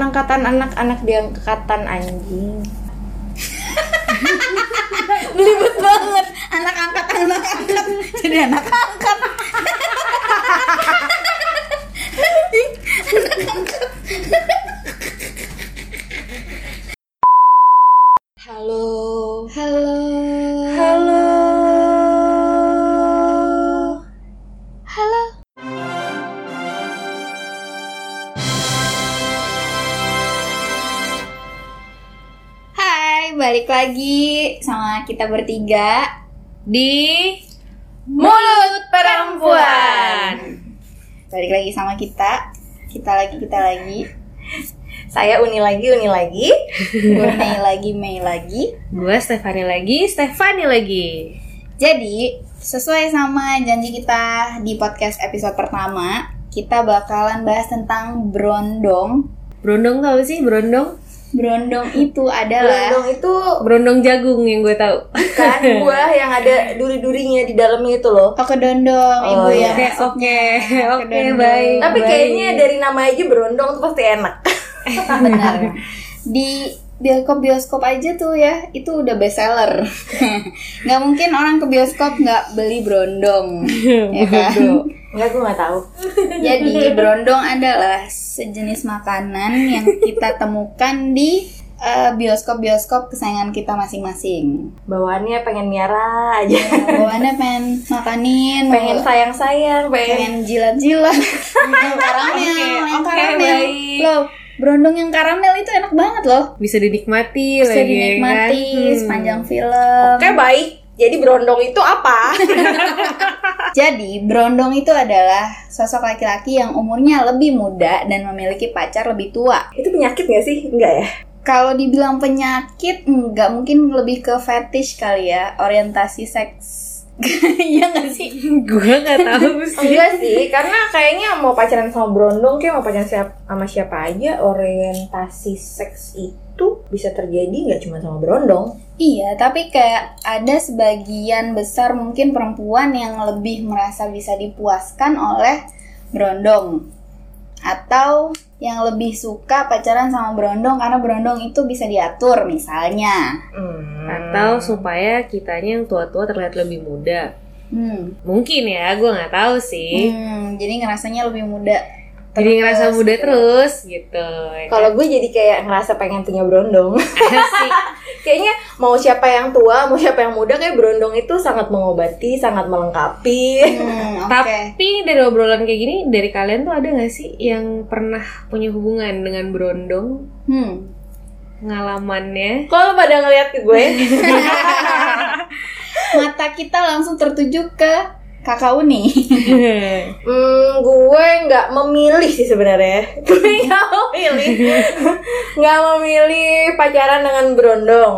angkatan anak-anak di angkatan anjing belibet banget anak angkat anak angkat jadi anak angkat halo halo halo halo hai balik lagi sama kita bertiga di mulut perempuan balik lagi sama kita kita lagi kita lagi saya uni lagi uni lagi Gue Mei lagi Mei lagi Gue Stefani lagi, Stefani lagi. Jadi, sesuai sama janji kita di podcast episode pertama, kita bakalan bahas tentang brondong. Brondong tau sih brondong? Brondong itu adalah Gelondong itu Brondong jagung yang gue tahu. bukan buah yang ada duri-durinya di dalamnya itu loh Oh, kedondong, ibu Oh, ya. Oke oke oke Kedondong. baik. tapi baik. kayaknya dari nama aja berondong tuh pasti enak Benar. Di bioskop-bioskop aja tuh ya, itu udah best seller. nggak mungkin orang ke bioskop nggak beli brondong. ya kan? Enggak, gue gak tahu Jadi brondong adalah sejenis makanan yang kita temukan di eh, bioskop-bioskop kesayangan kita masing-masing. bawaannya pengen miara aja Bawaannya pengen makanin, pengen sayang-sayang pengen Hmm. pengen jilat-jilat, yang karamel, Oke, yang oke, karamel. baik. Loh, brondong yang karamel itu enak banget loh. Bisa dinikmati Bisa lagi. dinikmati ya kan? sepanjang film. Oke baik. Jadi berondong itu apa? Jadi, brondong itu adalah sosok laki-laki yang umurnya lebih muda dan memiliki pacar lebih tua. itu penyakit gak sih? Enggak ya? Kalau dibilang penyakit, nggak mungkin lebih ke fetish kali ya, orientasi seks. Iya nggak sih? Hmm. Gue nggak tahu sih. Enggak Oh, iya sih, karena kayaknya mau pacaran sama berondong kayak mau pacaran siap- sama siapa aja orientasi seks itu bisa terjadi nggak cuma sama berondong. Iya, tapi kayak ada sebagian besar mungkin perempuan yang lebih merasa bisa dipuaskan oleh berondong atau yang lebih suka pacaran sama berondong karena berondong itu bisa diatur misalnya. Hmm. Atau supaya kitanya yang tua-tua terlihat lebih muda. Hmm. Mungkin ya, gue nggak tahu sih. Hmm, jadi ngerasanya lebih muda. Jadi ngerasa Terus, muda gitu. terus gitu. ya kan? kalau gue jadi kayak ngerasa pengen punya berondong. Asik. kayaknya mau siapa yang tua, mau siapa yang muda kayak berondong itu sangat mengobati, sangat melengkapi. Hmm, oke. Tapi dari obrolan kayak gini, dari kalian tuh ada gak sih yang pernah punya hubungan dengan berondong? Hmm. Pengalamannya? Kalau pada ngeliat ke gue, mata kita langsung tertuju ke kakak Uni. Hmm, gue nggak memilih sih sebenarnya. Gue nggak memilih, nggak memilih pacaran dengan berondong.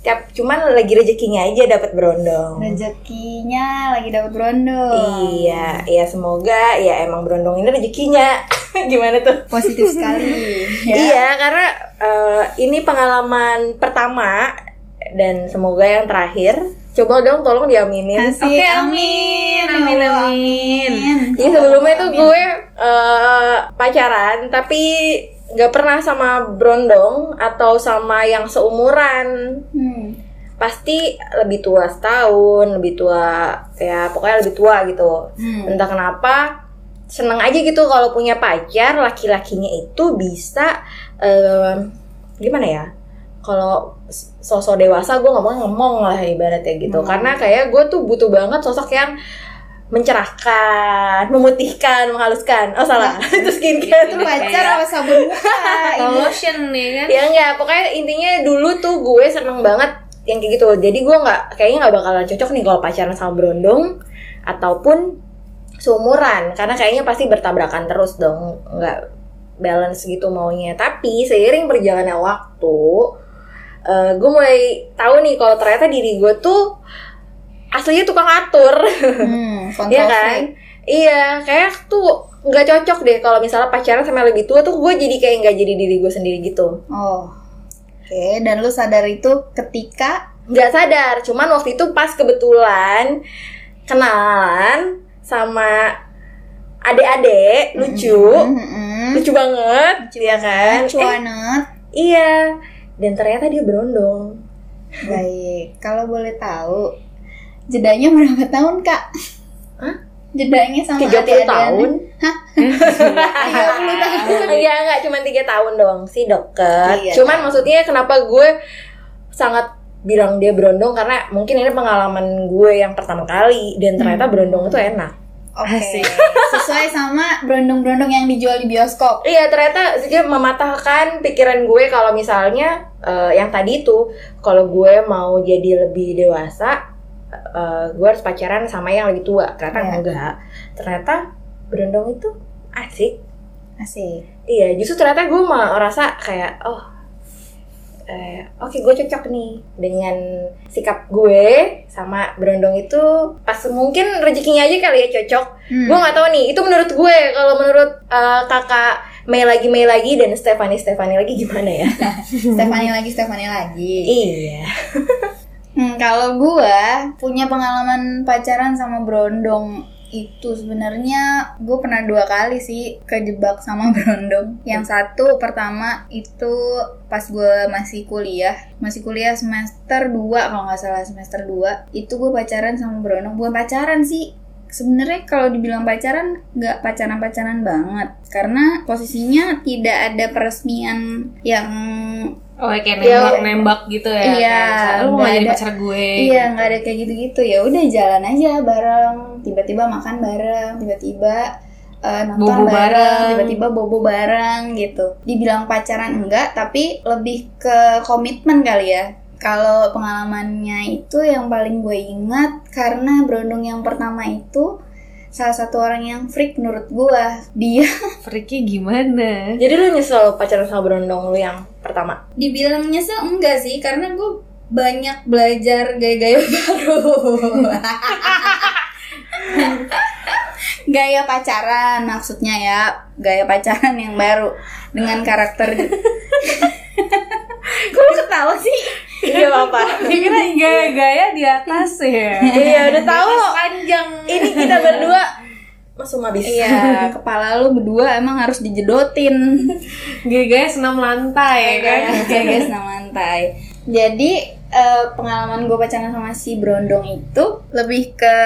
Tiap cuman lagi rezekinya aja dapat berondong. Rezekinya lagi dapat brondong. Iya, ya semoga ya emang berondong ini rezekinya. Gimana tuh? Positif sekali. ya. Iya, karena eh, ini pengalaman pertama dan semoga yang terakhir. Coba dong tolong diaminin. Asik, amin. amin, Ya Allah, amin. Iya, Jadi Iya, sebelumnya tuh gue eh, pacaran tapi nggak pernah sama brondong atau sama yang seumuran. Hmm. Pasti lebih tua setahun, lebih tua ya pokoknya lebih tua gitu. Hmm. Entah kenapa seneng aja gitu kalau punya pacar laki-lakinya itu bisa eh, gimana ya? Kalau s- sosok dewasa gue ngomong ngomong lah ibaratnya gitu. Hmm. Karena kayak gue tuh butuh banget sosok yang mencerahkan, memutihkan, menghaluskan. Oh salah, Nah, itu Itu skincare. pacar apa sabun muka? Atau Ini. lotion ya kan? ya enggak, pokoknya intinya dulu tuh gue seneng banget yang kayak gitu. Jadi gue nggak kayaknya nggak bakalan cocok nih kalau pacaran sama berondong ataupun seumuran karena kayaknya pasti bertabrakan terus dong nggak balance gitu maunya tapi seiring berjalannya waktu eh, gue mulai tahu nih kalau ternyata diri gue tuh aslinya tukang atur Hmm, Iya kontrol kan? freak. Iya, kayak tuh nggak cocok deh kalau misalnya pacaran sama yang lebih tua tuh gue jadi kayak nggak jadi diri gue sendiri gitu. Oh. Oke, dan lu sadar itu ketika Nggak sadar, cuman waktu itu pas kebetulan kenalan sama adik-adik lucu Hmm, hmm, hmm. Mm-mm. lucu banget iya kan Lucu Eh, banget. iya dan ternyata dia berondong Baik, kalau boleh tahu jedanya berapa tahun, Kak? Hah? Jedanya sama 30 adik-adiknya? tahun 30 tahun. Iya nggak cuma tiga tahun doang sih dokter. Iya. Cuman maksudnya kenapa gue sangat bilang dia berondong karena mungkin ini pengalaman gue yang pertama kali dan ternyata Mm. berondong itu enak. Oke. Asik. Sesuai sama brondong-brondong yang dijual di bioskop. Iya ternyata dia mematahkan pikiran gue kalau misalnya eh, yang tadi itu kalau gue mau jadi lebih dewasa eh, gue harus pacaran sama yang lebih tua. Ternyata Iya. enggak. Ternyata berondong itu asik. Asik. Iya, justru ternyata gue mah merasa kayak oh eh, oke gue cocok nih dengan sikap gue sama berondong itu pas mungkin rezekinya aja kali ya cocok. Hmm. Gue nggak tahu nih, itu menurut gue kalau menurut eh, kakak Mei lagi Mei lagi dan Stefani Stefani lagi gimana ya? Stefani lagi, Stefani lagi. iya. Hmm, kalau gua punya pengalaman pacaran sama brondong itu sebenarnya gue pernah dua kali sih kejebak sama brondong. Yang satu pertama itu pas gue masih kuliah, masih kuliah semester 2 kalau nggak salah semester 2 itu gue pacaran sama brondong. Bukan pacaran sih, sebenarnya kalau dibilang pacaran nggak pacaran-pacaran banget karena posisinya tidak ada peresmian yang Oh kayak Iya. nembak nembak gitu ya. Iya, kayak misalnya, Lu mau nggak jadi ada- pacar gue. Iya gitu. nggak ada kayak gitu-gitu ya udah jalan aja bareng tiba-tiba makan bareng tiba-tiba eh, nonton Bobo bareng, bareng. tiba-tiba bobo bareng gitu dibilang pacaran enggak tapi lebih ke komitmen kali ya kalau pengalamannya itu yang paling gue ingat karena berondong yang pertama itu salah satu orang yang freak menurut gue dia Freaky gimana? Jadi lu nyesel pacaran sama berondong lu yang pertama? dibilang nyesel enggak sih karena gue banyak belajar gaya-gaya baru gaya pacaran maksudnya ya gaya pacaran yang baru dengan karakter Kok lu ketawa sih? Iya apa? Kira gaya-gaya di atas ya. Iya udah tahu. Panjang. Ini kita berdua masuk habis. Iya, kepala lu berdua emang harus dijedotin Gaya-gaya senam lantai kan. Kayak guys nama lantai. Jadi eh, pengalaman gue pacaran sama si Brondong itu lebih ke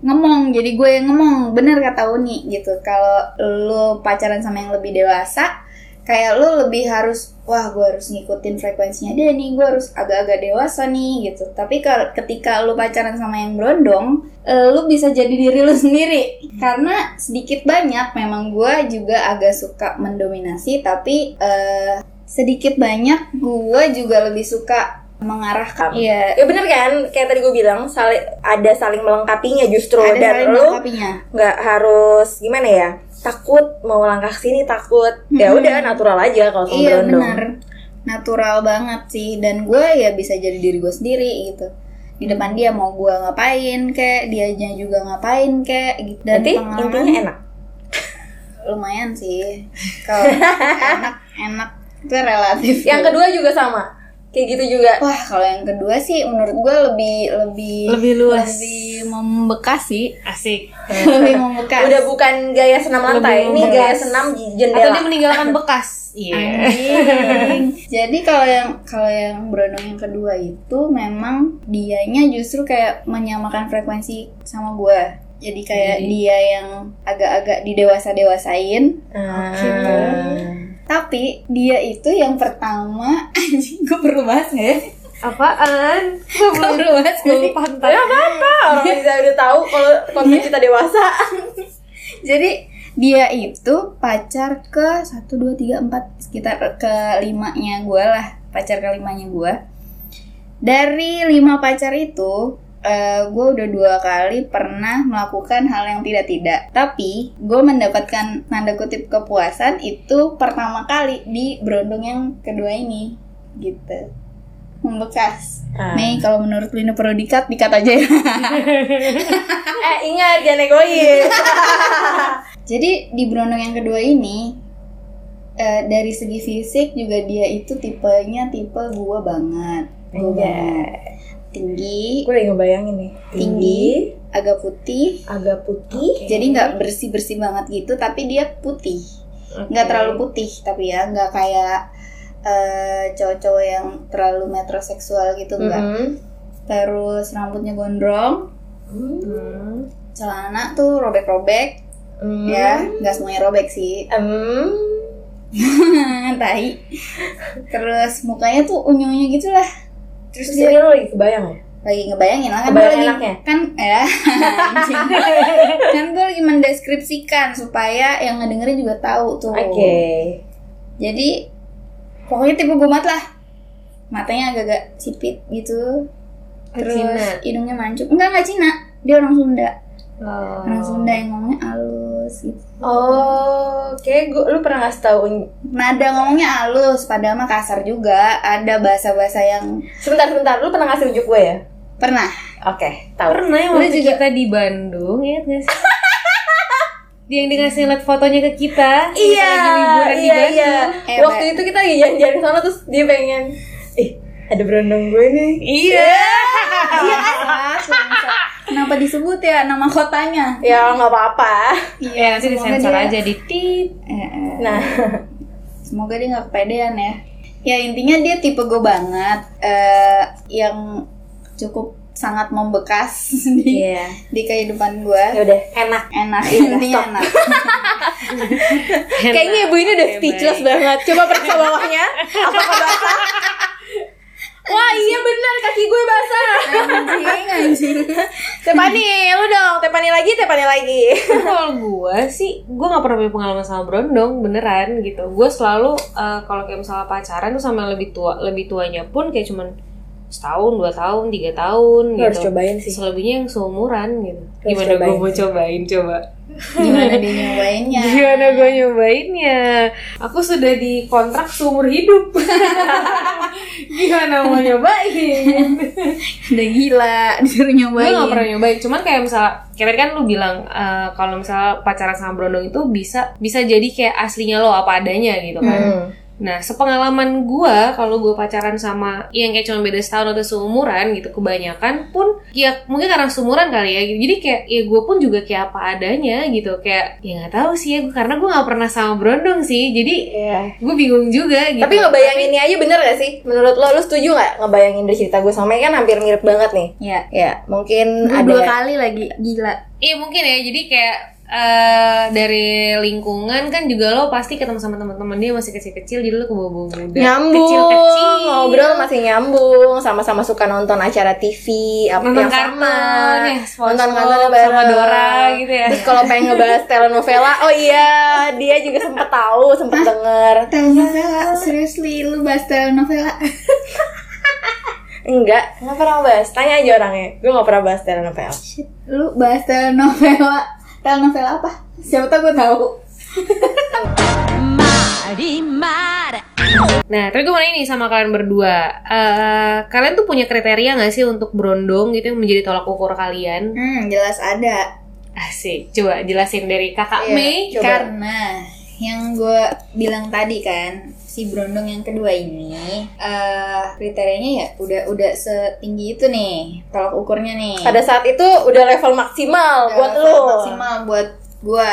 ngemong. Jadi gue yang ngemong, bener kata Uni gitu. Kalau lo pacaran sama yang lebih dewasa, kayak lo lebih harus, wah gue harus ngikutin frekuensinya dia nih, gue harus agak-agak dewasa nih gitu. Tapi kalau ketika lo pacaran sama yang Brondong, eh, lo bisa jadi diri lo sendiri. Karena sedikit banyak memang gue juga agak suka mendominasi, tapi eh, sedikit banyak gue juga lebih suka mengarahkan iya Ya bener kan, kayak tadi gue bilang saling, ada saling melengkapinya justru ada dan saling lu melengkapinya. nggak harus gimana ya takut mau langkah sini takut ya Mhm. udah natural aja kalau sama iya berondong. benar natural banget sih dan gue ya bisa jadi diri gue sendiri gitu di depan dia mau gue ngapain kek dianya juga ngapain kek gitu dan Berarti pengalaman- intinya enak. lumayan sih kalau enak enak itu relatif Yang kedua juga sama, kayak gitu juga. wah kalau yang kedua sih menurut gue lebih lebih Lebih luas. lebih membekas sih Asik. lebih membekas Udah bukan gaya senam Lebih lantai, ini membekas. gaya senam j- Atau dia jendela. meninggalkan bekas. Iya. Anjing. Jadi kalau yang kalau yang berondong yang kedua itu memang dianya justru kayak menyamakan frekuensi sama gua. Jadi kayak Jadi- dia yang agak-agak didewasa-dewasain, Ah. Gitu. tapi dia itu yang pertama anjing gua perlu bahas nggak ya? Apaan? Gua Gua belum perlu bahas nggak belum sih? pantas. Ya apa-apa, orang kita udah tahu kalau konten kita dewasa. Jadi dia itu pacar ke 1, 2, 3, 4 Sekitar kelimanya gue lah Pacar kelimanya gue Dari lima pacar itu Gue udah dua kali pernah melakukan hal yang tidak-tidak Tapi gue mendapatkan tanda kutip kepuasan Itu pertama kali di berondong yang kedua ini Gitu Membekas Ah. Mei kalau menurut Lino Prodikat Dikat aja ya Eh ingat jangan egois. Jadi di Brondong yang kedua ini eh, dari segi fisik juga dia itu tipenya tipe gua banget. Gua Anjay. banget. Tinggi, Gue lagi ngebayangin nih. Tinggi. agak putih, agak putih. jadi nggak bersih bersih banget gitu, tapi dia putih. nggak terlalu putih tapi ya nggak kayak eh, cowok-cowok yang terlalu metroseksual gitu nggak Mhm. terus rambutnya gondrong Hmm. celana tuh robek-robek Hmm. ya nggak semuanya robek sih Hmm. tai terus mukanya tuh unyu-unyu gitu lah terus Terus ini dia lo lagi kebayang ya? lagi ngebayangin lah kan gue Kebayang lagi enaknya? kan ya anjing. kan gue lagi mendeskripsikan supaya yang ngedengerin juga tahu tuh Oke. jadi pokoknya tipe gue banget lah matanya agak-agak sipit gitu terus Cina. hidungnya mancung enggak enggak Cina dia orang Sunda Oh. orang Sunda yang ngomongnya halus gitu Oh, oke. Gua, lu pernah ngasih tahu? Un- nada ngomongnya halus padahal mah kasar juga ada bahasa-bahasa yang Sebentar, sebentar. Lu pernah ngasih unjuk gue ya? pernah Oke, tahu. Pernah yang Lu waktu juga- kita di Bandung, ya nggak sih? Dia yang dikasih lihat fotonya ke kita. kita Iya, lagi liburan di iya, Bandung. iya. Hebat. Waktu itu kita lagi jalan-jalan ke iya, sana terus dia pengen, ih ada berondong gue nih. Iya. iya kan Bangsa. kenapa disebut ya nama kotanya Ya nggak apa-apa. Iya, nanti semoga disensor dia- aja di tit. Eh, eh. Nah, Semoga dia nggak kepedean ya. Ya intinya dia tipe gue banget eh, yang cukup sangat membekas di, iya. di kehidupan gue. Ya udah enak. Enak Iya, intinya stop. enak. Kayaknya ibu ini udah Oke, speechless baik. banget. Coba periksa bawahnya. Apakah basah? Wah iya benar kaki gue basah. Anjing, anjing. Tepani, lu dong. Tepani lagi, tepani lagi. Tapi kalau gue sih, gue gak pernah punya pengalaman sama berondong, beneran gitu. Gue selalu eh, kalau kayak misalnya pacaran tuh sama yang lebih tua, lebih tuanya pun kayak cuman setahun, dua tahun, tiga Lu tahun gitu. harus cobain sih. Selebihnya yang seumuran gitu. Harus Gimana gue cobain. mau cobain coba? Gimana dia nyobainnya? Gimana gue nyobainnya? Aku sudah dikontrak seumur hidup. Gimana mau nyobain? Udah gila disuruh gue nyobain. gak pernah nyobain cuman kayak misalnya kayak tadi kan lu bilang eh, kalau misalnya pacaran sama brondong itu bisa bisa jadi kayak aslinya lo apa adanya gitu kan Hmm. nah sepengalaman gue kalau gue pacaran sama yang kayak cuma beda setahun atau seumuran gitu kebanyakan pun ya mungkin karena seumuran kali ya gitu. jadi kayak ya gue pun juga kayak apa adanya gitu kayak ya nggak tahu sih ya gua- karena gue nggak pernah sama brondong sih jadi Iya. gue bingung juga gitu Tapi ngebayanginnya aja bener gak sih? Menurut lo, lo setuju gak ngebayangin dari cerita gue sama kan hampir mirip banget nih? Ya. Ya, mungkin Gua ada dua kali lagi gila. Iya mungkin ya, jadi kayak eh, dari lingkungan kan juga lo pasti ketemu sama teman-teman dia masih kecil-kecil, jadi lo ke bawah muda. nyambung, Kecil-kecil. ngobrol masih nyambung, sama-sama suka nonton acara TV, apa Nonton yang sama, kartun, ya, SpongeBob nonton sama Dora gitu ya. Terus kalau pengen ngebahas telenovela, oh iya, dia juga sempet tahu, sempet denger. Telenovela, seriously lu bahas telenovela. Enggak, nggak pernah bahas. Tanya aja orangnya, gue nggak pernah bahas telenovela. Shit, lu bahas telenovela. Telenovela apa? Siapa tau gue tahu. Nah, terus gue mau nanya nih sama kalian berdua, Eh, kalian tuh punya kriteria nggak sih untuk berondong gitu yang menjadi tolak ukur kalian? Hmm, jelas ada. Ya, Asik, coba jelasin dari kakak Iya. Mei. Coba. Karena yang gue bilang tadi kan si Brondong yang kedua ini eh kriterianya ya udah udah setinggi itu nih tolak ukurnya nih. Pada saat itu udah level maksimal Udah buat level lo. maksimal buat gue.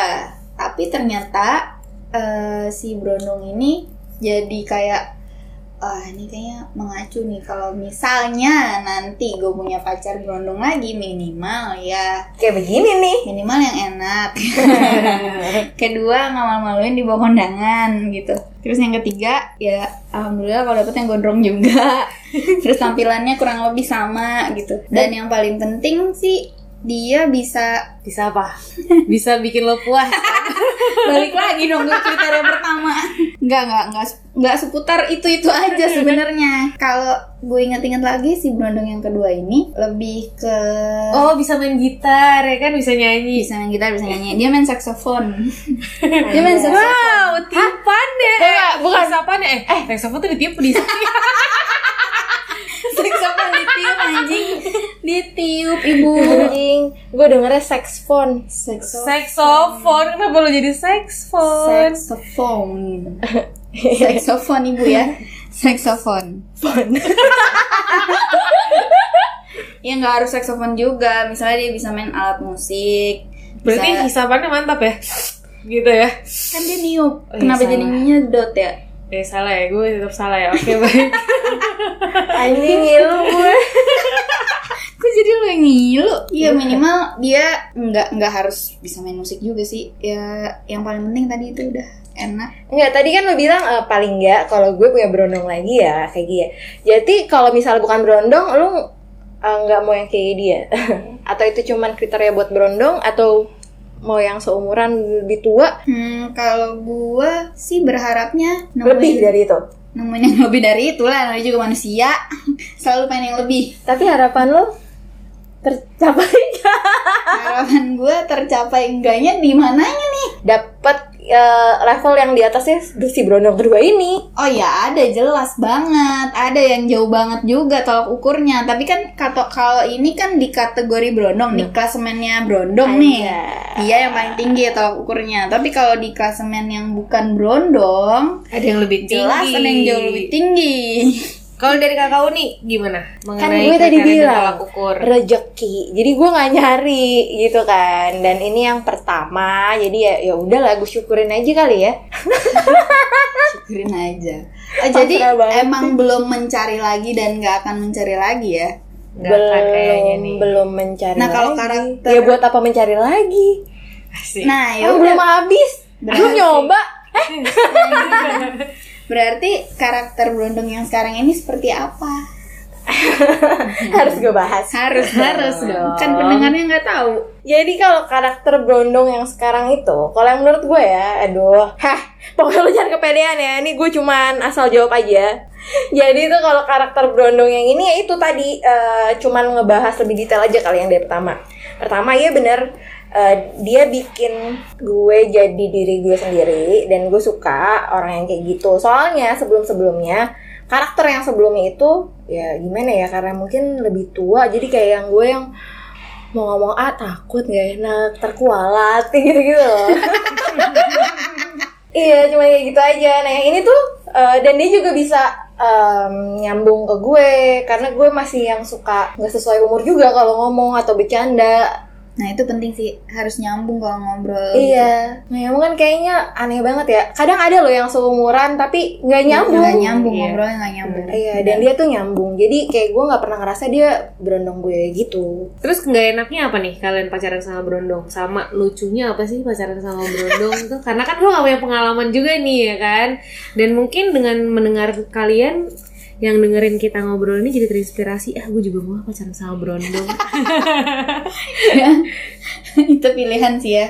Tapi ternyata eh, si Brondong ini jadi kayak ah ini kayaknya mengacu nih kalau misalnya nanti gue punya pacar Brondong lagi minimal ya Kayak begini nih. minimal yang enak kedua nggak malu-maluin di bawah kondangan gitu terus yang ketiga ya alhamdulillah kalau dapet yang gondrong juga terus tampilannya kurang lebih sama gitu dan yang paling penting sih dia bisa Bisa apa? Bisa bikin lo puas. kan? balik lagi dong ke kriteria pertama nggak nggak nggak se- nggak seputar itu itu aja sebenarnya kalau gue inget-inget lagi si Brondong yang kedua ini lebih ke Oh, bisa main gitar ya kan, bisa nyanyi. bisa main gitar bisa nyanyi dia main saksofon dia main saksofon Wow, tiupan deh. Enggak, bukan. Tiupan deh. Eh, saksofon tuh ditiup di Saksofon ditiup anjing Ditiup ibu Anjing, gue dengernya saxophone. Saxophone, kenapa lo jadi saxophone? Saksofon Saksofon ibu ya Saksofon Ya nggak harus saksofon juga Misalnya dia bisa main alat musik Berarti bisa- hisapannya mantap ya? gitu ya Kan dia niup. iya, Kenapa salah. jadi nyedot ya? eh salah ya gue tetap salah ya oke baik Anjing iya ngilu gue. Kok jadi lo yang ngilu? Iya minimal dia nggak nggak harus bisa main musik juga sih. Ya yang paling penting tadi itu udah enak. Enggak, tadi kan lo bilang eh, paling enggak kalau gue punya berondong lagi ya kayak gitu. ya. Jadi kalau misalnya bukan berondong, lo eh, nggak mau yang kayak dia? atau itu cuman kriteria buat berondong atau mau yang seumuran lebih tua Hmm kalau gua sih berharapnya nemuin, lebih dari itu? nemuin yang lebih dari itu lah. Namanya juga manusia selalu pengen yang lebih. Tapi harapan lo tercapai nggak? Harapan gua tercapai enggaknya di mananya nih? Dapat eh, level yang di atasnya si berondong kedua ini. Oh ya ada jelas banget, ada yang jauh banget juga tolak ukurnya. Tapi kan kata kalau ini kan di kategori brondong, di Iya. klasemennya brondong nih. Dia yang paling tinggi ya tolak ukurnya. Tapi kalau di klasemen yang bukan brondong, ada yang lebih tinggi jelas ada yang jauh lebih tinggi. kalau dari kakak Uni gimana kan mengenai gue tadi kriteria dan bilang tolak ukur rejeki jadi gue nggak nyari gitu kan dan ini yang pertama jadi ya ya udahlah gue syukurin aja kali ya Syukurin aja. Oh, jadi Pasrah banget emang belum mencari lagi dan nggak akan mencari lagi ya. Nggak akan kayaknya nih belum mencari Nah, kalau lagi. karakter- ya buat apa mencari lagi Asik. Nah, Kan ya udah. belum habis belum nyoba Berarti karakter brondong yang sekarang ini seperti apa? harus gue bahas Harus harus dong. Kan pendengarnya nggak tahu. jadi kalau karakter brondong yang sekarang itu kalau yang menurut gue ya aduh heh pokoknya lu jangan kepedean ya ini gue cuman asal jawab aja jadi itu kalau karakter brondong yang ini ya itu tadi eh, cuman ngebahas lebih detail aja kali yang dari pertama pertama ya bener eh, dia bikin gue jadi diri gue sendiri dan gue suka orang yang kayak gitu soalnya sebelum sebelumnya karakter yang sebelumnya itu ya gimana ya karena mungkin lebih tua jadi kayak yang gue yang mau ngomong ah takut gak enak terkualat gitu gitu loh iya cuma kayak gitu aja nah yang ini tuh eh, dan dia juga bisa em, nyambung ke gue karena gue masih yang suka nggak sesuai umur juga kalau ngomong atau bercanda Nah itu penting sih harus nyambung kalau ngobrol. iya nah emang kan kayaknya aneh banget ya kadang ada loh yang seumuran tapi nggak nyambung. nyambung Gak nyambung Iya. ngobrolnya gak nyambung. iya dan dia tuh nyambung jadi kayak gue nggak pernah ngerasa dia berondong gue gitu Terus nggak enaknya apa nih kalian pacaran sama berondong? Sama lucunya apa sih pacaran sama berondong tuh? Karena kan gue gak punya pengalaman juga nih ya kan. Dan mungkin dengan mendengar kalian yang dengerin kita ngobrol ini jadi terinspirasi. Ah gue juga mau pacaran sama berondong. itu pilihan sih ya.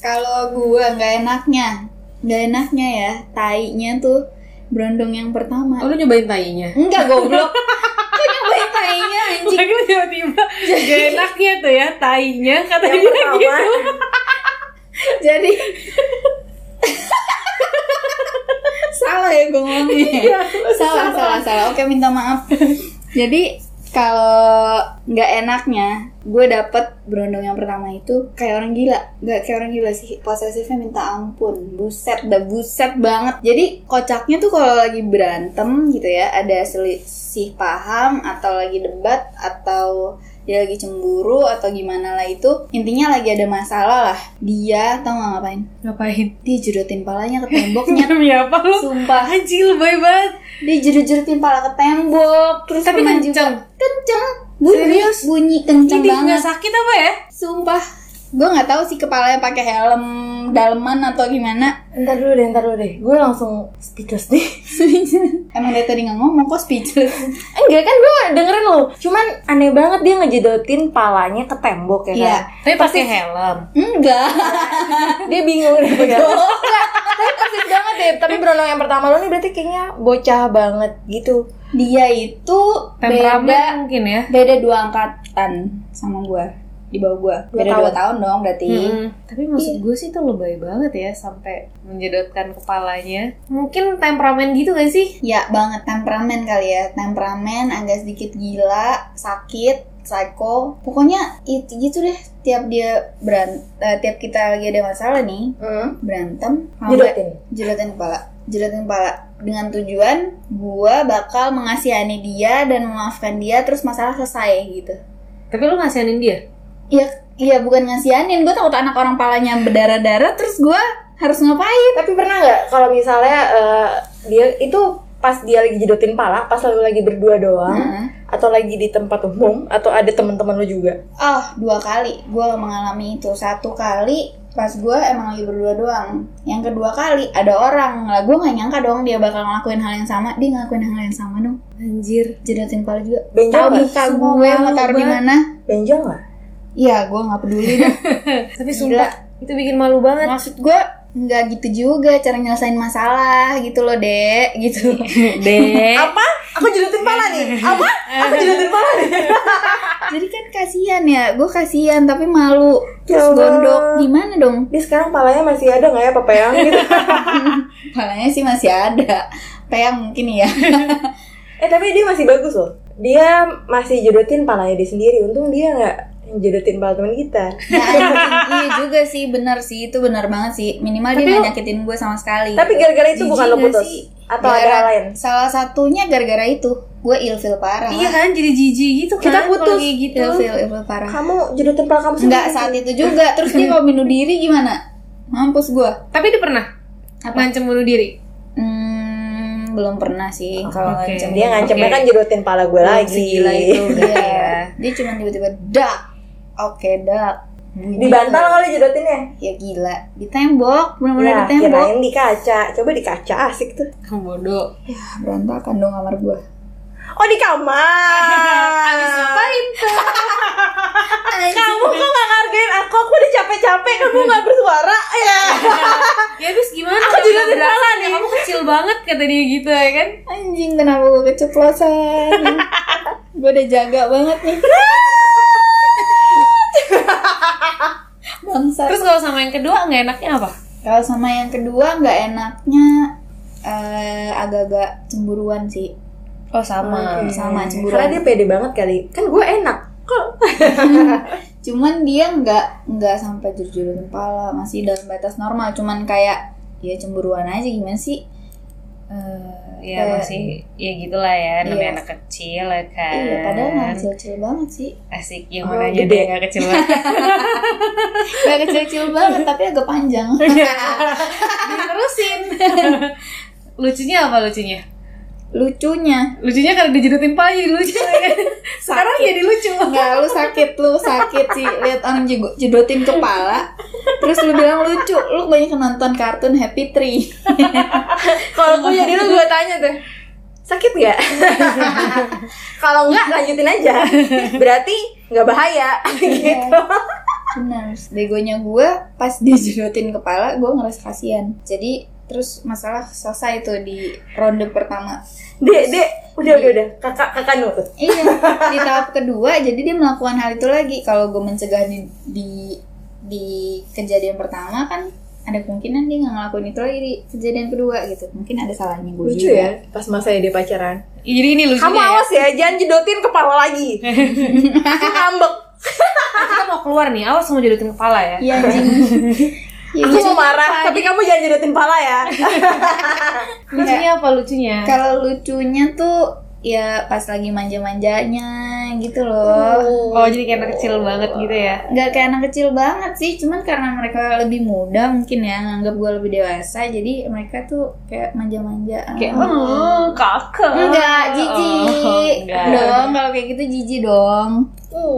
Kalau gua nggak enaknya, nggak enaknya ya tainya tuh brondong yang pertama. Oh, lu nyobain tainya? Enggak goblok. Kok nyobain tainya anjing? Lagi lu tiba-tiba gak enaknya tuh ya tainya kata yang dia gitu. pertama Jadi salah ya gue ngomongnya. salah, salah, salah. Oke minta maaf. Jadi kalau nggak enaknya, gue dapet berondong yang pertama itu kayak orang gila, nggak kayak orang gila sih, posesifnya minta ampun, buset, udah buset banget. Jadi kocaknya tuh kalau lagi berantem gitu ya, ada selisih paham atau lagi debat atau dia lagi cemburu atau gimana lah itu intinya lagi ada masalah lah dia tau nggak ngapain Ngapain? dia judotin palanya ke temboknya Demi apa lu? sumpah Anjing lu baik banget. dia jurut-jurutin pala ke tembok terus Tapi pernah kenceng. juga- kenceng bunyi Serius? bunyi kenceng Ini banget nggak sakit apa ya? sumpah gue nggak tahu sih kepalanya pakai helm daleman atau gimana Ntar dulu deh, ntar dulu deh. Gue langsung speechless nih. emang dari tadi nggak ngomong kok speechless Enggak kan gue dengerin lo. Cuman aneh banget dia ngejedotin palanya ke tembok ya kan. Iya. Tapi pakai helm. enggak Dia bingung deh. ya kan? Tapi persis banget deh. Tapi berondong yang pertama lo nih berarti kayaknya bocah banget gitu. dia itu beda Temperamen mungkin ya. beda dua angkatan sama gue di bawah Dua gue beda tahun. dua tahun dong berarti Tapi maksud gue sih itu lebay banget ya sampai menjedotkan kepalanya. Mungkin temperamen gitu gak sih? Ya banget temperamen kali ya Temperamen agak sedikit gila Sakit Psycho Pokoknya itu gitu deh Tiap dia beran eh, Tiap kita lagi ada masalah nih Hmm. Berantem kalau nggak- Jedotin. Jelatin kepala Jelatin kepala Dengan tujuan Gua bakal mengasihani dia Dan memaafkan dia Terus masalah selesai gitu Tapi lu ngasihanin dia? Iya Iya bukan ngasihanin Gue takut anak orang palanya berdarah-darah Terus gua harus ngapain? Tapi pernah nggak kalau misalnya eh, dia itu pas dia lagi jedotin pala, pas lu lagi berdua doang, Heeh. atau lagi di tempat umum, atau ada teman-teman lu juga? Oh, dua kali gue mengalami itu. Satu kali pas gue emang lagi berdua doang. Yang kedua kali ada orang. Lah gue gak nyangka dong dia bakal ngelakuin hal yang sama. Dia ngelakuin hal yang sama dong. Anjir. Jedotin pala juga. Benjol Tahu nggak? muka Sumpah, gue malu mau taruh di banget. mana? Benjol nggak? Iya, gue nggak peduli deh. Tapi sumpah itu bikin malu banget. Maksud gue nggak gitu juga cara nyelesain masalah gitu loh dek gitu Dek. Apa? Aku jedotin pala nih. Apa? Aku jedotin pala nih. jadi kan kasihan ya gue kasihan tapi malu Ya terus Allah. gondok gimana dong Dia sekarang palanya masih ada nggak ya, Papayang? Gitu. Palanya sih masih ada. Peyang mungkin ya. Eh tapi dia masih bagus loh. Dia masih jodotin palanya dia sendiri. Untung dia nggak jodotin pala teman kita. Ya, anjing. iya juga sih, benar sih. Itu benar banget sih. Minimal dia Tapi lu- gak nyakitin gue sama sekali. gitu. Tapi gara-gara itu bukan lo Jijik nggak putus sih? atau ada hal Gara- lain. Salah satunya gara-gara itu. Gue ilfil parah. Iya kan jadi jijik gitu kan. Kita kalau putus. kayak gitu. Ilfil, ilfil parah. Kamu jodotin pala kamu sendiri. Enggak saat itu juga. Terus dia mau bunuh diri gimana? Mampus gue. Tapi dia pernah Apa? ngancem bunuh diri. Hmm, belum pernah sih Ah, kalau Oke. ngancem. Dia ngancemnya Oke. kan jodotin pala gue lagi. Segila itu udah ya. Iya. Dia cuma tiba-tiba dak. Oke, dak. Di bantal kali jodotinnya. Ya gila, ditembok, benar-benar Ya, ditembok. kirain di kaca. Coba di kaca asik tuh. Kamu bodoh. Ah, berantakan dong kamar gue Oh di Habis kamar. ngapain? kamu kok gak ngargain aku? Aku udah capek-capek, kamu gak bersuara. Ya. Ya habis gimana? Aku juga Nggak bersalah berasa, nih. Kamu kecil banget kata dia gitu ya kan. anjing kenapa gue keceplosan gue udah jaga banget nih bangsa Terus kalau sama yang kedua nggak enaknya apa? kalau sama yang kedua nggak enaknya eh, agak-agak cemburuan sih Oh Hmm, sama Karena cemburuan dia pede banget kali. Kan gue enak. Kok cuman dia nggak nggak sampai jujur kepala masih dalam batas normal cuman kayak ya cemburuan aja gimana sih Eh, Ya Kayak- masih ya gitulah ya namanya Iya. anak kecil ya kan. iya padahal nggak kecil-kecil banget sih Asik yang Oh, mananya gede. dia nggak kecil banget. Gak kecil-kecil banget tapi agak panjang Terusin. lucunya apa lucunya? Lucunya Lucunya karena dijedutin pala jadi lucu ya kan? Sekarang jadi lucu Enggak lu sakit lu sakit sih Lihat orang jego- jedotin kepala Terus lu bilang lucu Lu banyak nonton kartun Happy Tree kalau aku jadi lu gue tanya tuh. Sakit nggak? kalau nggak lanjutin aja. Berarti nggak bahaya. gitu. Benar Begonya gue pas dijedotin kepala Gue ngerasa kasihan Jadi terus masalah selesai tuh di ronde pertama Dek, dek, udah udah udah. Kakak kakak nurut. Iya di tahap kedua jadi dia melakukan hal itu lagi Kalau gue mencegah di, di, di kejadian pertama kan ada kemungkinan dia nggak ngelakuin itu lagi di kejadian kedua gitu mungkin ada salahnya gue Lucu juga. ya pas masa dia pacaran. Jadi ini lucunya Kamu ya. awas ya, jangan jedotin kepala lagi. Aku ngambek. Ah, Kita mau keluar nih, awas mau jedutin kepala ya Iya anjing. Iya, Aku lucu. mau marah, tapi kamu jangan jedotin pala ya. Lucunya apa lucunya? Kalau lucunya tuh ya pas lagi manja-manjanya gitu loh. Oh jadi kayak anak kecil banget gitu ya Gak kayak anak kecil banget sih, cuman karena mereka lebih muda mungkin ya nganggap gue lebih dewasa, jadi mereka tuh kayak manja-manja. Kayak, oh kakak Enggak, Oh, jijik enggak. dong. Kalau kayak gitu jijik dong.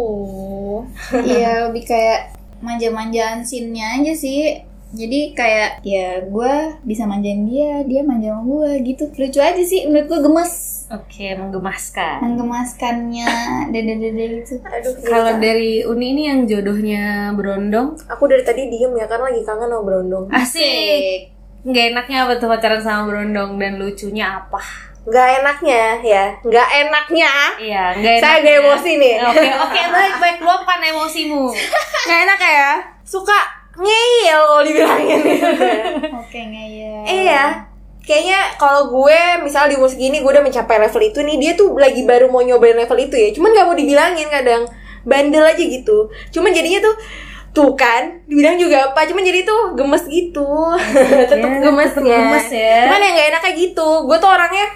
Oh. Iya, lebih kayak manja-manjaan scene-nya aja sih. Jadi kayak ya gue bisa manjain dia, dia manja sama gue gitu. Lucu aja sih, menurut gue gemes. Oke, menggemaskan menggemaskannya dede-dede gitu Aduh, Kalau dari Uni ini yang jodohnya berondong aku dari tadi diem ya karena lagi kangen sama berondong. Asik Nggak enaknya apa tuh pacaran sama berondong dan lucunya apa? Nggak enaknya ya, nggak enaknya. Iya, nggak enaknya Saya agak emosi nih. Oke, oke, baik, baik, luapkan emosimu Nggak enak ya? Suka ngeyel kalau dibilangin. oke ngeyel iya. Kayaknya kalau gue misal di umur segini gue udah mencapai level itu nih dia tuh lagi baru mau nyobain level itu ya. Cuman nggak mau dibilangin kadang bandel aja gitu. Cuman jadinya tuh tuh kan dibilang juga apa cuman jadi tuh gemes gitu tetep Ya, gemes tetep ya gemes ya. cuman yang gak enak kayak gitu gue tuh orangnya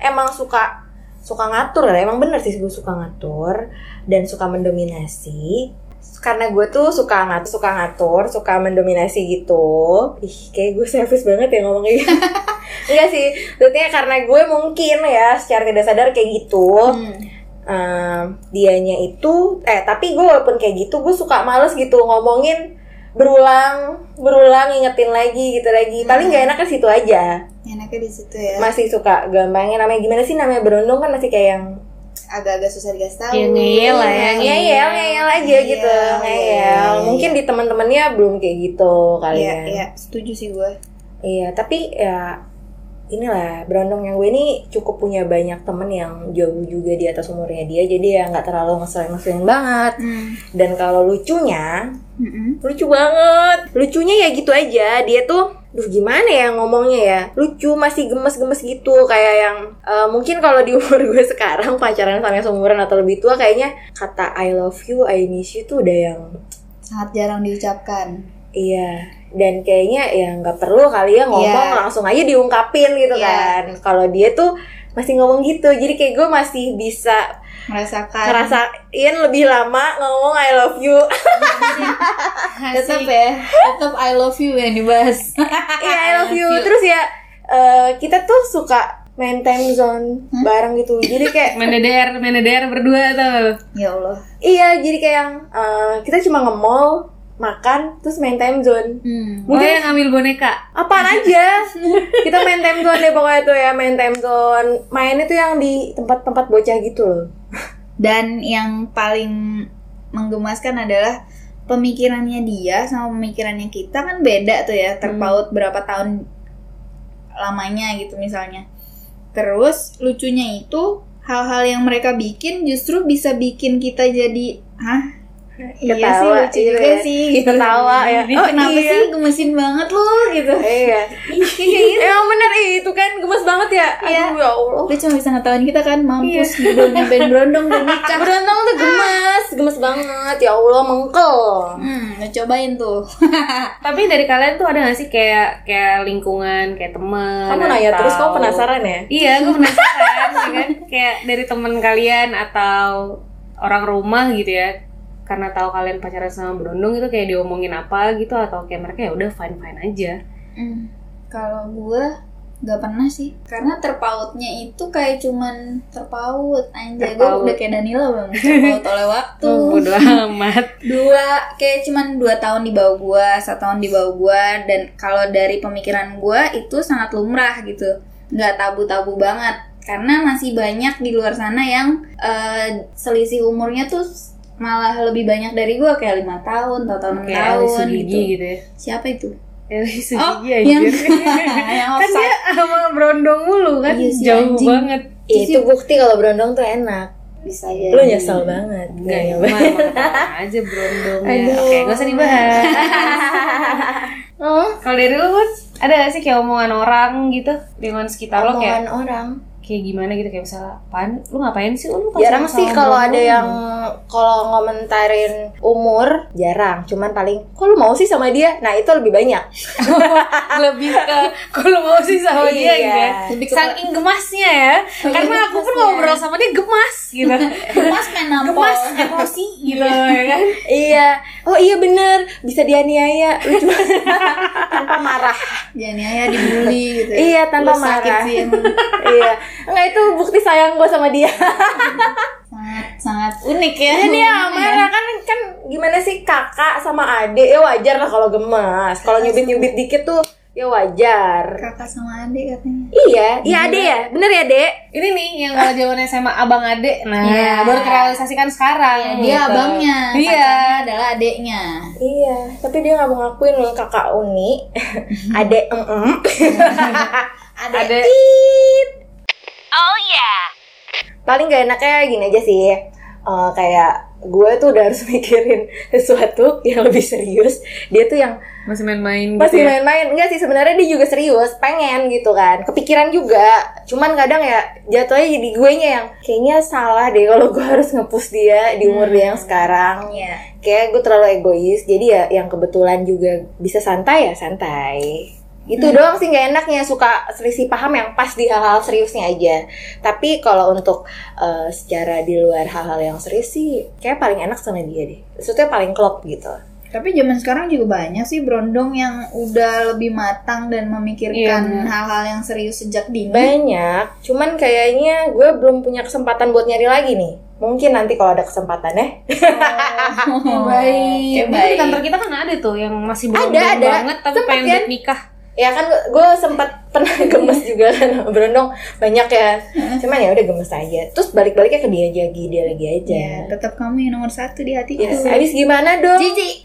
emang suka suka ngatur lah emang bener sih gue suka ngatur dan suka mendominasi karena gue tuh suka ngatur, suka ngatur, suka mendominasi gitu. Ih, kayak gue service banget ya ngomong kayak gitu. Enggak sih, maksudnya karena gue mungkin ya secara tidak sadar kayak gitu. Hmm. Ehm, dianya itu, eh tapi gue walaupun kayak gitu, gue suka males gitu ngomongin berulang, berulang ingetin lagi gitu lagi. Paling gak enak ke situ aja. Enaknya di situ ya. Masih suka gampangnya namanya gimana sih namanya berondong kan masih kayak yang Agak-agak susah dikasih tahu. Ya, ngeyel lah ya, ngeyel ngeyel, ngeyel aja Ngeyel, gitu iya, iya, ngeyel iya. mungkin di teman-temannya belum kayak gitu kali Iya, ya iya, setuju sih gue. iya tapi ya inilah berondong yang gue ini cukup punya banyak temen yang jauh juga di atas umurnya dia jadi ya nggak terlalu ngeselin ngeselin banget Hmm. dan kalau lucunya Mm-mm. lucu banget lucunya ya gitu aja dia tuh duh gimana ya ngomongnya ya lucu masih gemes-gemes gitu kayak yang eh, mungkin kalau di umur gue sekarang pacaran sama yang seumuran atau lebih tua kayaknya kata I love you I miss you tuh udah yang Sangat jarang diucapkan. iya dan kayaknya ya nggak perlu kali ya ngomong Iya. langsung aja diungkapin gitu Iya. kan kalau dia tuh masih ngomong gitu jadi kayak gue masih bisa Merasakan. ngerasain lebih lama ngomong I love you Tetap ya, tetap I love you yang dibahas. Iya, I love you. Terus ya eh, kita tuh suka main time zone bareng gitu. Jadi kayak Meneder, meneder berdua tuh. ya Allah. iya, jadi kayak yang eh, kita cuma nge-mall, makan, terus main time zone. Hmm. Oh, Mungkin- yang ngambil boneka. Apaan aja? kita main time zone deh pokoknya tuh ya, main time zone. Mainnya tuh yang di tempat-tempat bocah gitu loh. Dan yang paling menggemaskan adalah pemikirannya dia sama pemikirannya kita kan beda tuh ya, terpaut Hmm. berapa tahun lamanya gitu misalnya. Terus lucunya itu hal-hal yang mereka bikin justru bisa bikin kita jadi hah iya sih Ketawa, lucu iya juga ya. sih gitu. Ketawa ya. oh, kenapa iya. sih gemesin banget lo gitu Iya. Emang bener ih, itu kan gemes banget ya. Iya. Aduh ya Allah. Dia cuma bisa ngetawain kita kan mampus Iya. gitu nyampein berondong dan nikah. Berondong tuh gemes, gemes banget. Ya Allah mengkel. Hmm, udah cobain tuh. Tapi dari kalian tuh ada gak sih kayak kayak lingkungan, kayak temen Kamu nanya atau- terus kamu penasaran ya? Iya, gue penasaran ya kan kayak dari temen kalian atau orang rumah gitu ya. Karena tahu kalian pacaran sama berondong itu kayak diomongin apa gitu atau kayak mereka ya udah fine fine aja. Hmm. Kalau gue nggak pernah sih, karena terpautnya itu kayak cuman terpaut anjay gue Terpaut. udah kayak Danila belum terpaut oleh waktu. Tuh bodo amat. dua kayak cuman dua tahun di bawah gua satu tahun di bawah gua dan kalau dari pemikiran gua itu sangat lumrah gitu nggak tabu-tabu banget karena masih banyak di luar sana yang eh, selisih umurnya tuh malah lebih banyak dari gua kayak lima tahun atau enam Kayak Alice tahun Sugigi gitu. gitu. ya. siapa itu Alice oh Sugigi aja. yang yang ya, kan offside dia sama berondong mulu kan Iya sih, jauh anjing. banget. Itu bukti kalau berondong tuh enak. bisa jadi Lu nyesel banget. Enggak Iya, ya, Bang. aja berondong ya. Aduh. Oke, gak usah dibahas. Oh, Kalau dari lu, Bud, ada gak sih kayak omongan orang gitu? Lingkungan sekitar lo kayak Omongan orang. kayak gimana gitu kayak misalnya apaan lu ngapain sih Oh, lu pacaran Jarang sama sih kalau Brono?" ada yang kalau ngomentarin umur, jarang. Cuman paling, kok lu mau sih sama dia? Nah, itu lebih banyak. lebih ke kalau mau sih sama Iya. dia gitu ya Lebih ke- saking gemasnya ya karena aku pun gemasnya. ngobrol sama dia gemas gitu gemas main nampol gemas emosi gitu ya kan iya. Oh iya bener, bisa dianiaya. Lucu. Tanpa marah. jangan ya dibully gitu Iya, tanpa Lu sakit marah. sih emang. iya. Enggak, itu bukti sayang gue sama dia. sangat sangat unik Iya, ya Jadi ya marah kan kan gimana sih kakak sama adik ya wajar lah kalau gemas. Kalau nyubit-nyubit dikit tuh ya wajar. kakak sama adik katanya Iya, iya adek ya. Bener ya, Dek? ini nih yang kalau jawabannya sama abang ade nah Iya. baru terrealisasikan Ya, sekarang dia gitu. abangnya, iya pacarnya adalah adeknya. Iya, tapi dia nggak mau ngakuin loh kakak Uni. adek em em. ada Tit. Paling gak enaknya gini aja sih. eh, kayak gue tuh udah harus mikirin sesuatu yang lebih serius. Dia tuh yang masih main-main gitu masih ya. main-main enggak sih sebenarnya dia juga serius pengen gitu kan kepikiran juga cuman kadang ya jatuhnya jadi gue nya yang kayaknya salah deh kalau gue harus ngepus dia di umur dia yang Hmm. sekarang Iya. kayak gue terlalu egois jadi ya yang kebetulan juga bisa santai ya santai Itu Hmm. doang sih nggak enaknya suka selisih paham yang pas di hal-hal seriusnya aja. Tapi kalau untuk eh, secara di luar hal-hal yang serius sih kayak paling enak sama dia deh. Maksudnya paling klop gitu. Tapi zaman sekarang juga banyak sih brondong yang udah lebih matang dan memikirkan Iya, benar. hal-hal yang serius sejak dini. Banyak, cuman kayaknya gue belum punya kesempatan buat nyari lagi nih. Mungkin nanti kalau ada kesempatan ya. Oh, Baik. Baik. Di kantor kita kan ada tuh yang masih belum Ada, ada. banget tapi Sempet pengen kan? buat nikah. Ya kan gue sempat pernah gemes juga kan sama berondong banyak ya. Cuman ya udah gemes aja. Terus balik-baliknya ke dia lagi, dia lagi aja. Ya, tetap kamu yang nomor satu di hatiku. Yes, habis gimana dong? Jiji.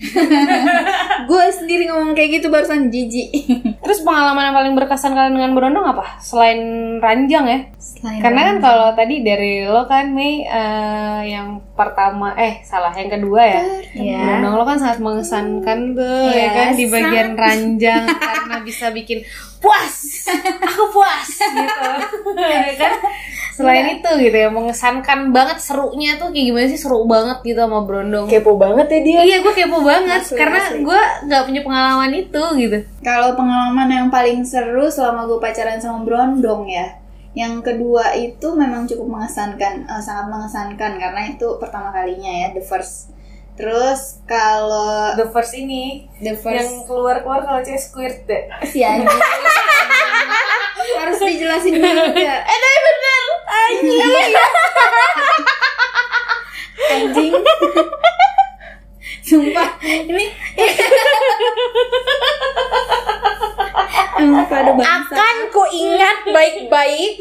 Gue sendiri ngomong kayak gitu barusan jiji. Terus pengalaman yang paling berkesan kalian dengan berondong apa? Selain ranjang ya? Selain Karena kan kalau tadi dari lo kan Mei eh, yang pertama eh salah yang kedua ya. Ya. Berondong lo kan sangat mengesankan tuh ya Iya, kan di bagian ranjang karena bisa bikin puas. Aku puas gitu. ya kan? Selain itu gitu ya mengesankan banget serunya tuh kayak gimana sih seru banget gitu sama berondong. Kepo banget ya dia. Iya, gue kepo banget Asli, karena asli. gue nggak punya pengalaman itu gitu. Kalau pengalaman yang paling seru selama gue pacaran sama Brondong ya. Yang kedua itu memang cukup mengesankan, eh, sangat mengesankan karena itu pertama kalinya ya, the first. Terus kalau The first ini the first keluar keluar kalau cewek squirt deh. si anjing. harus dijelasin dulu ya. Eh, tapi bener. Anjing. anjing. Sumpah, ini Emang pada bangsa Akan ku ingat baik-baik.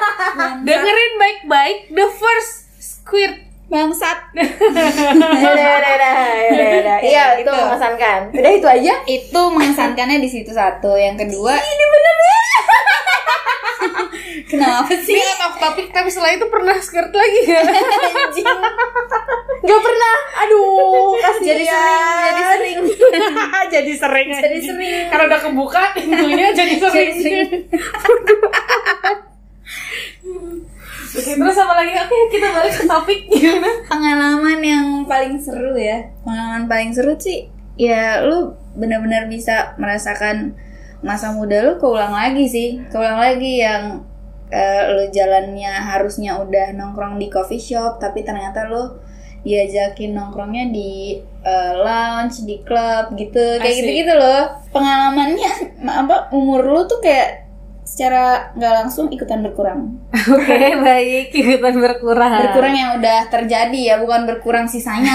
Dengerin baik-baik the first squirt. bangsat Udah, udah, udah, udah, udah. nah, Iya, Kayak itu gitu. mengesankan. Udah itu aja. itu mengesankannya di situ satu yang kedua ini ya. bener kenapa sih Ini out of topic tapi setelah itu pernah squirt lagi ya. anjing Gak pernah. Aduh, kasihan. jadi sering jadi sering jadi sering. Jadi anjing. sering. Karena udah kebuka pintunya jadi sering. Jadi sering. Oke, terus apa lagi? Oke, kita balik ke topik gimana? pengalaman yang paling seru ya pengalaman paling seru sih ya lu benar-benar bisa merasakan masa muda lu keulang lagi sih keulang lagi yang eh, lu jalannya harusnya udah nongkrong di coffee shop tapi ternyata lu diajakin nongkrongnya di eh, lounge di club gitu kayak Asik. gitu gitu loh pengalamannya apa umur lu tuh kayak secara nggak langsung ikutan berkurang Oke, baik. Ikutan berkurang. berkurang yang udah terjadi ya bukan berkurang sisanya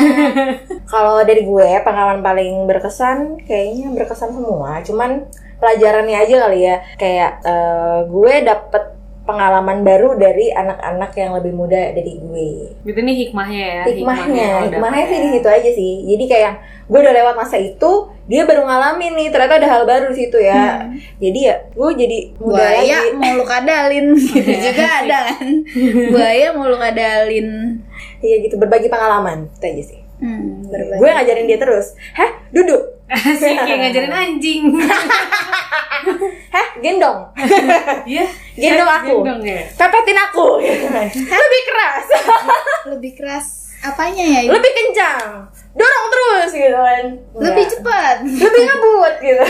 Kalau dari gue pengalaman paling berkesan kayaknya berkesan semua. Cuman pelajarannya aja kali ya. Kayak eh, gue dapet pengalaman baru dari anak-anak yang lebih muda dari gue. Gitu nih hikmahnya ya. Hikmahnya, udah. hikmahnya sih di situ aja sih. Jadi kayak gue udah lewat masa itu, dia baru ngalamin nih. Ternyata ada hal baru di situ ya. Hmm. Jadi ya gue jadi muda buaya lagi. mau lu kadalin gitu Iya. juga ada kan buaya mau lu kadalin Iya gitu berbagi pengalaman itu aja sih. hmm, berbagi. Gue ngajarin dia terus. Hah, duduk. Asik kayak ngajarin anjing. Hah, gendong. Iya. Gendong aku. Gendong ya. Pepetin aku. Lebih keras. lebih keras apanya ya Ibu? lebih kencang dorong terus gitu kan lebih Enggak. cepat lebih ngebut gitu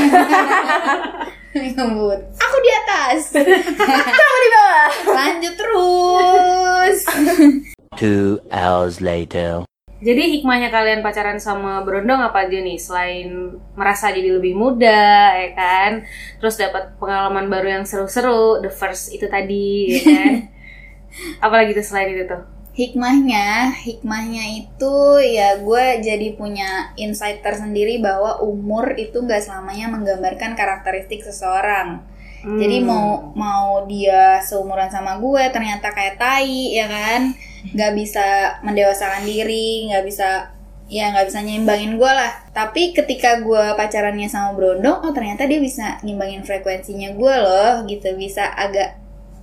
ngebut aku di atas kamu di bawah lanjut terus Two hours later. Jadi hikmahnya kalian pacaran sama berondong apa aja nih? Selain merasa jadi lebih muda, ya kan? Terus dapat pengalaman baru yang seru-seru, the first itu tadi, ya kan? Apalagi tuh selain itu tuh? hikmahnya hikmahnya itu ya gue jadi punya insight tersendiri bahwa umur itu nggak selamanya menggambarkan karakteristik seseorang Hmm. Jadi mau mau dia seumuran sama gue ternyata kayak tai ya kan, nggak bisa mendewasakan diri, nggak bisa ya nggak bisa nyimbangin gue lah. Tapi ketika gue pacarannya sama Brondong, oh ternyata dia bisa nyimbangin frekuensinya gue loh, gitu bisa agak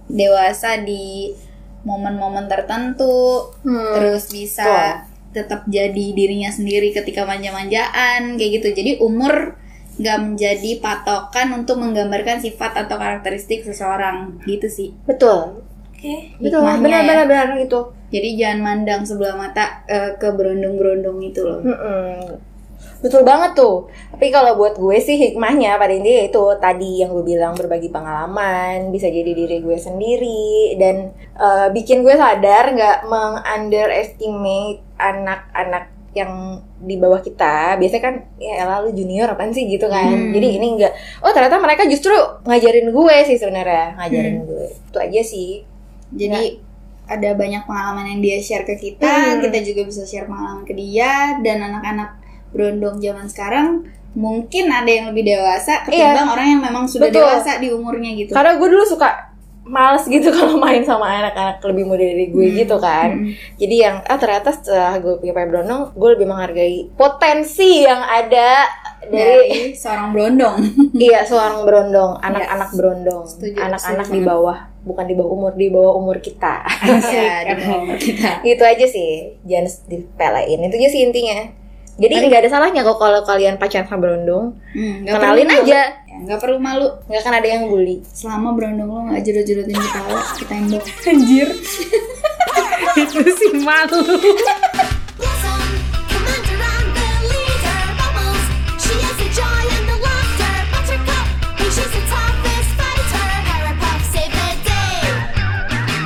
dewasa di momen-momen tertentu, terus bisa Betul. tetap jadi dirinya sendiri ketika manja-manjaan kayak gitu. Jadi umur nggak menjadi patokan untuk menggambarkan sifat atau karakteristik seseorang gitu sih. betul Oke. betul Hikmahnya benar ya. benar benar gitu Jadi jangan mandang sebelah mata eh, ke berondong-berondong itu loh. Mm-mm. Betul banget tuh. Tapi kalau buat gue sih hikmahnya pada intinya itu tadi yang gue bilang berbagi pengalaman, bisa jadi diri gue sendiri dan eh, bikin gue sadar nggak meng-underestimate anak-anak yang di bawah kita biasanya kan ya elah, lu junior apaan sih gitu kan Hmm. jadi ini enggak oh ternyata mereka justru ngajarin gue sih sebenarnya ngajarin gue itu aja sih Jadi ada banyak pengalaman yang dia share ke kita, Ya. Hmm. kita juga bisa share pengalaman ke dia dan anak-anak berondong zaman sekarang mungkin ada yang lebih dewasa ketimbang orang yang memang sudah Iya. Betul. dewasa di umurnya gitu. Karena gue dulu suka males gitu kalau main sama anak-anak lebih muda dari gue gitu kan. Mm. Jadi yang ah ternyata setelah gue punya Pak Brondong, gue lebih menghargai potensi yang ada dari dari seorang berondong. iya seorang Brondong, anak-anak Brondong, Setuju, anak-anak setuju di bawah bukan di bawah umur, di bawah umur kita. ya, di bawah umur kita. gitu aja sih, jangan dipelein. Itu aja sih intinya. Jadi nggak ada salahnya kok kalau kalian pacaran sama Brondong, Hmm, nggak kenalin perlu malu. aja, Ya, nggak perlu malu. nggak akan ada yang bully. Selama berondong lo nggak jodoh-jodohin kepala, kita yang Anjir. itu sih malu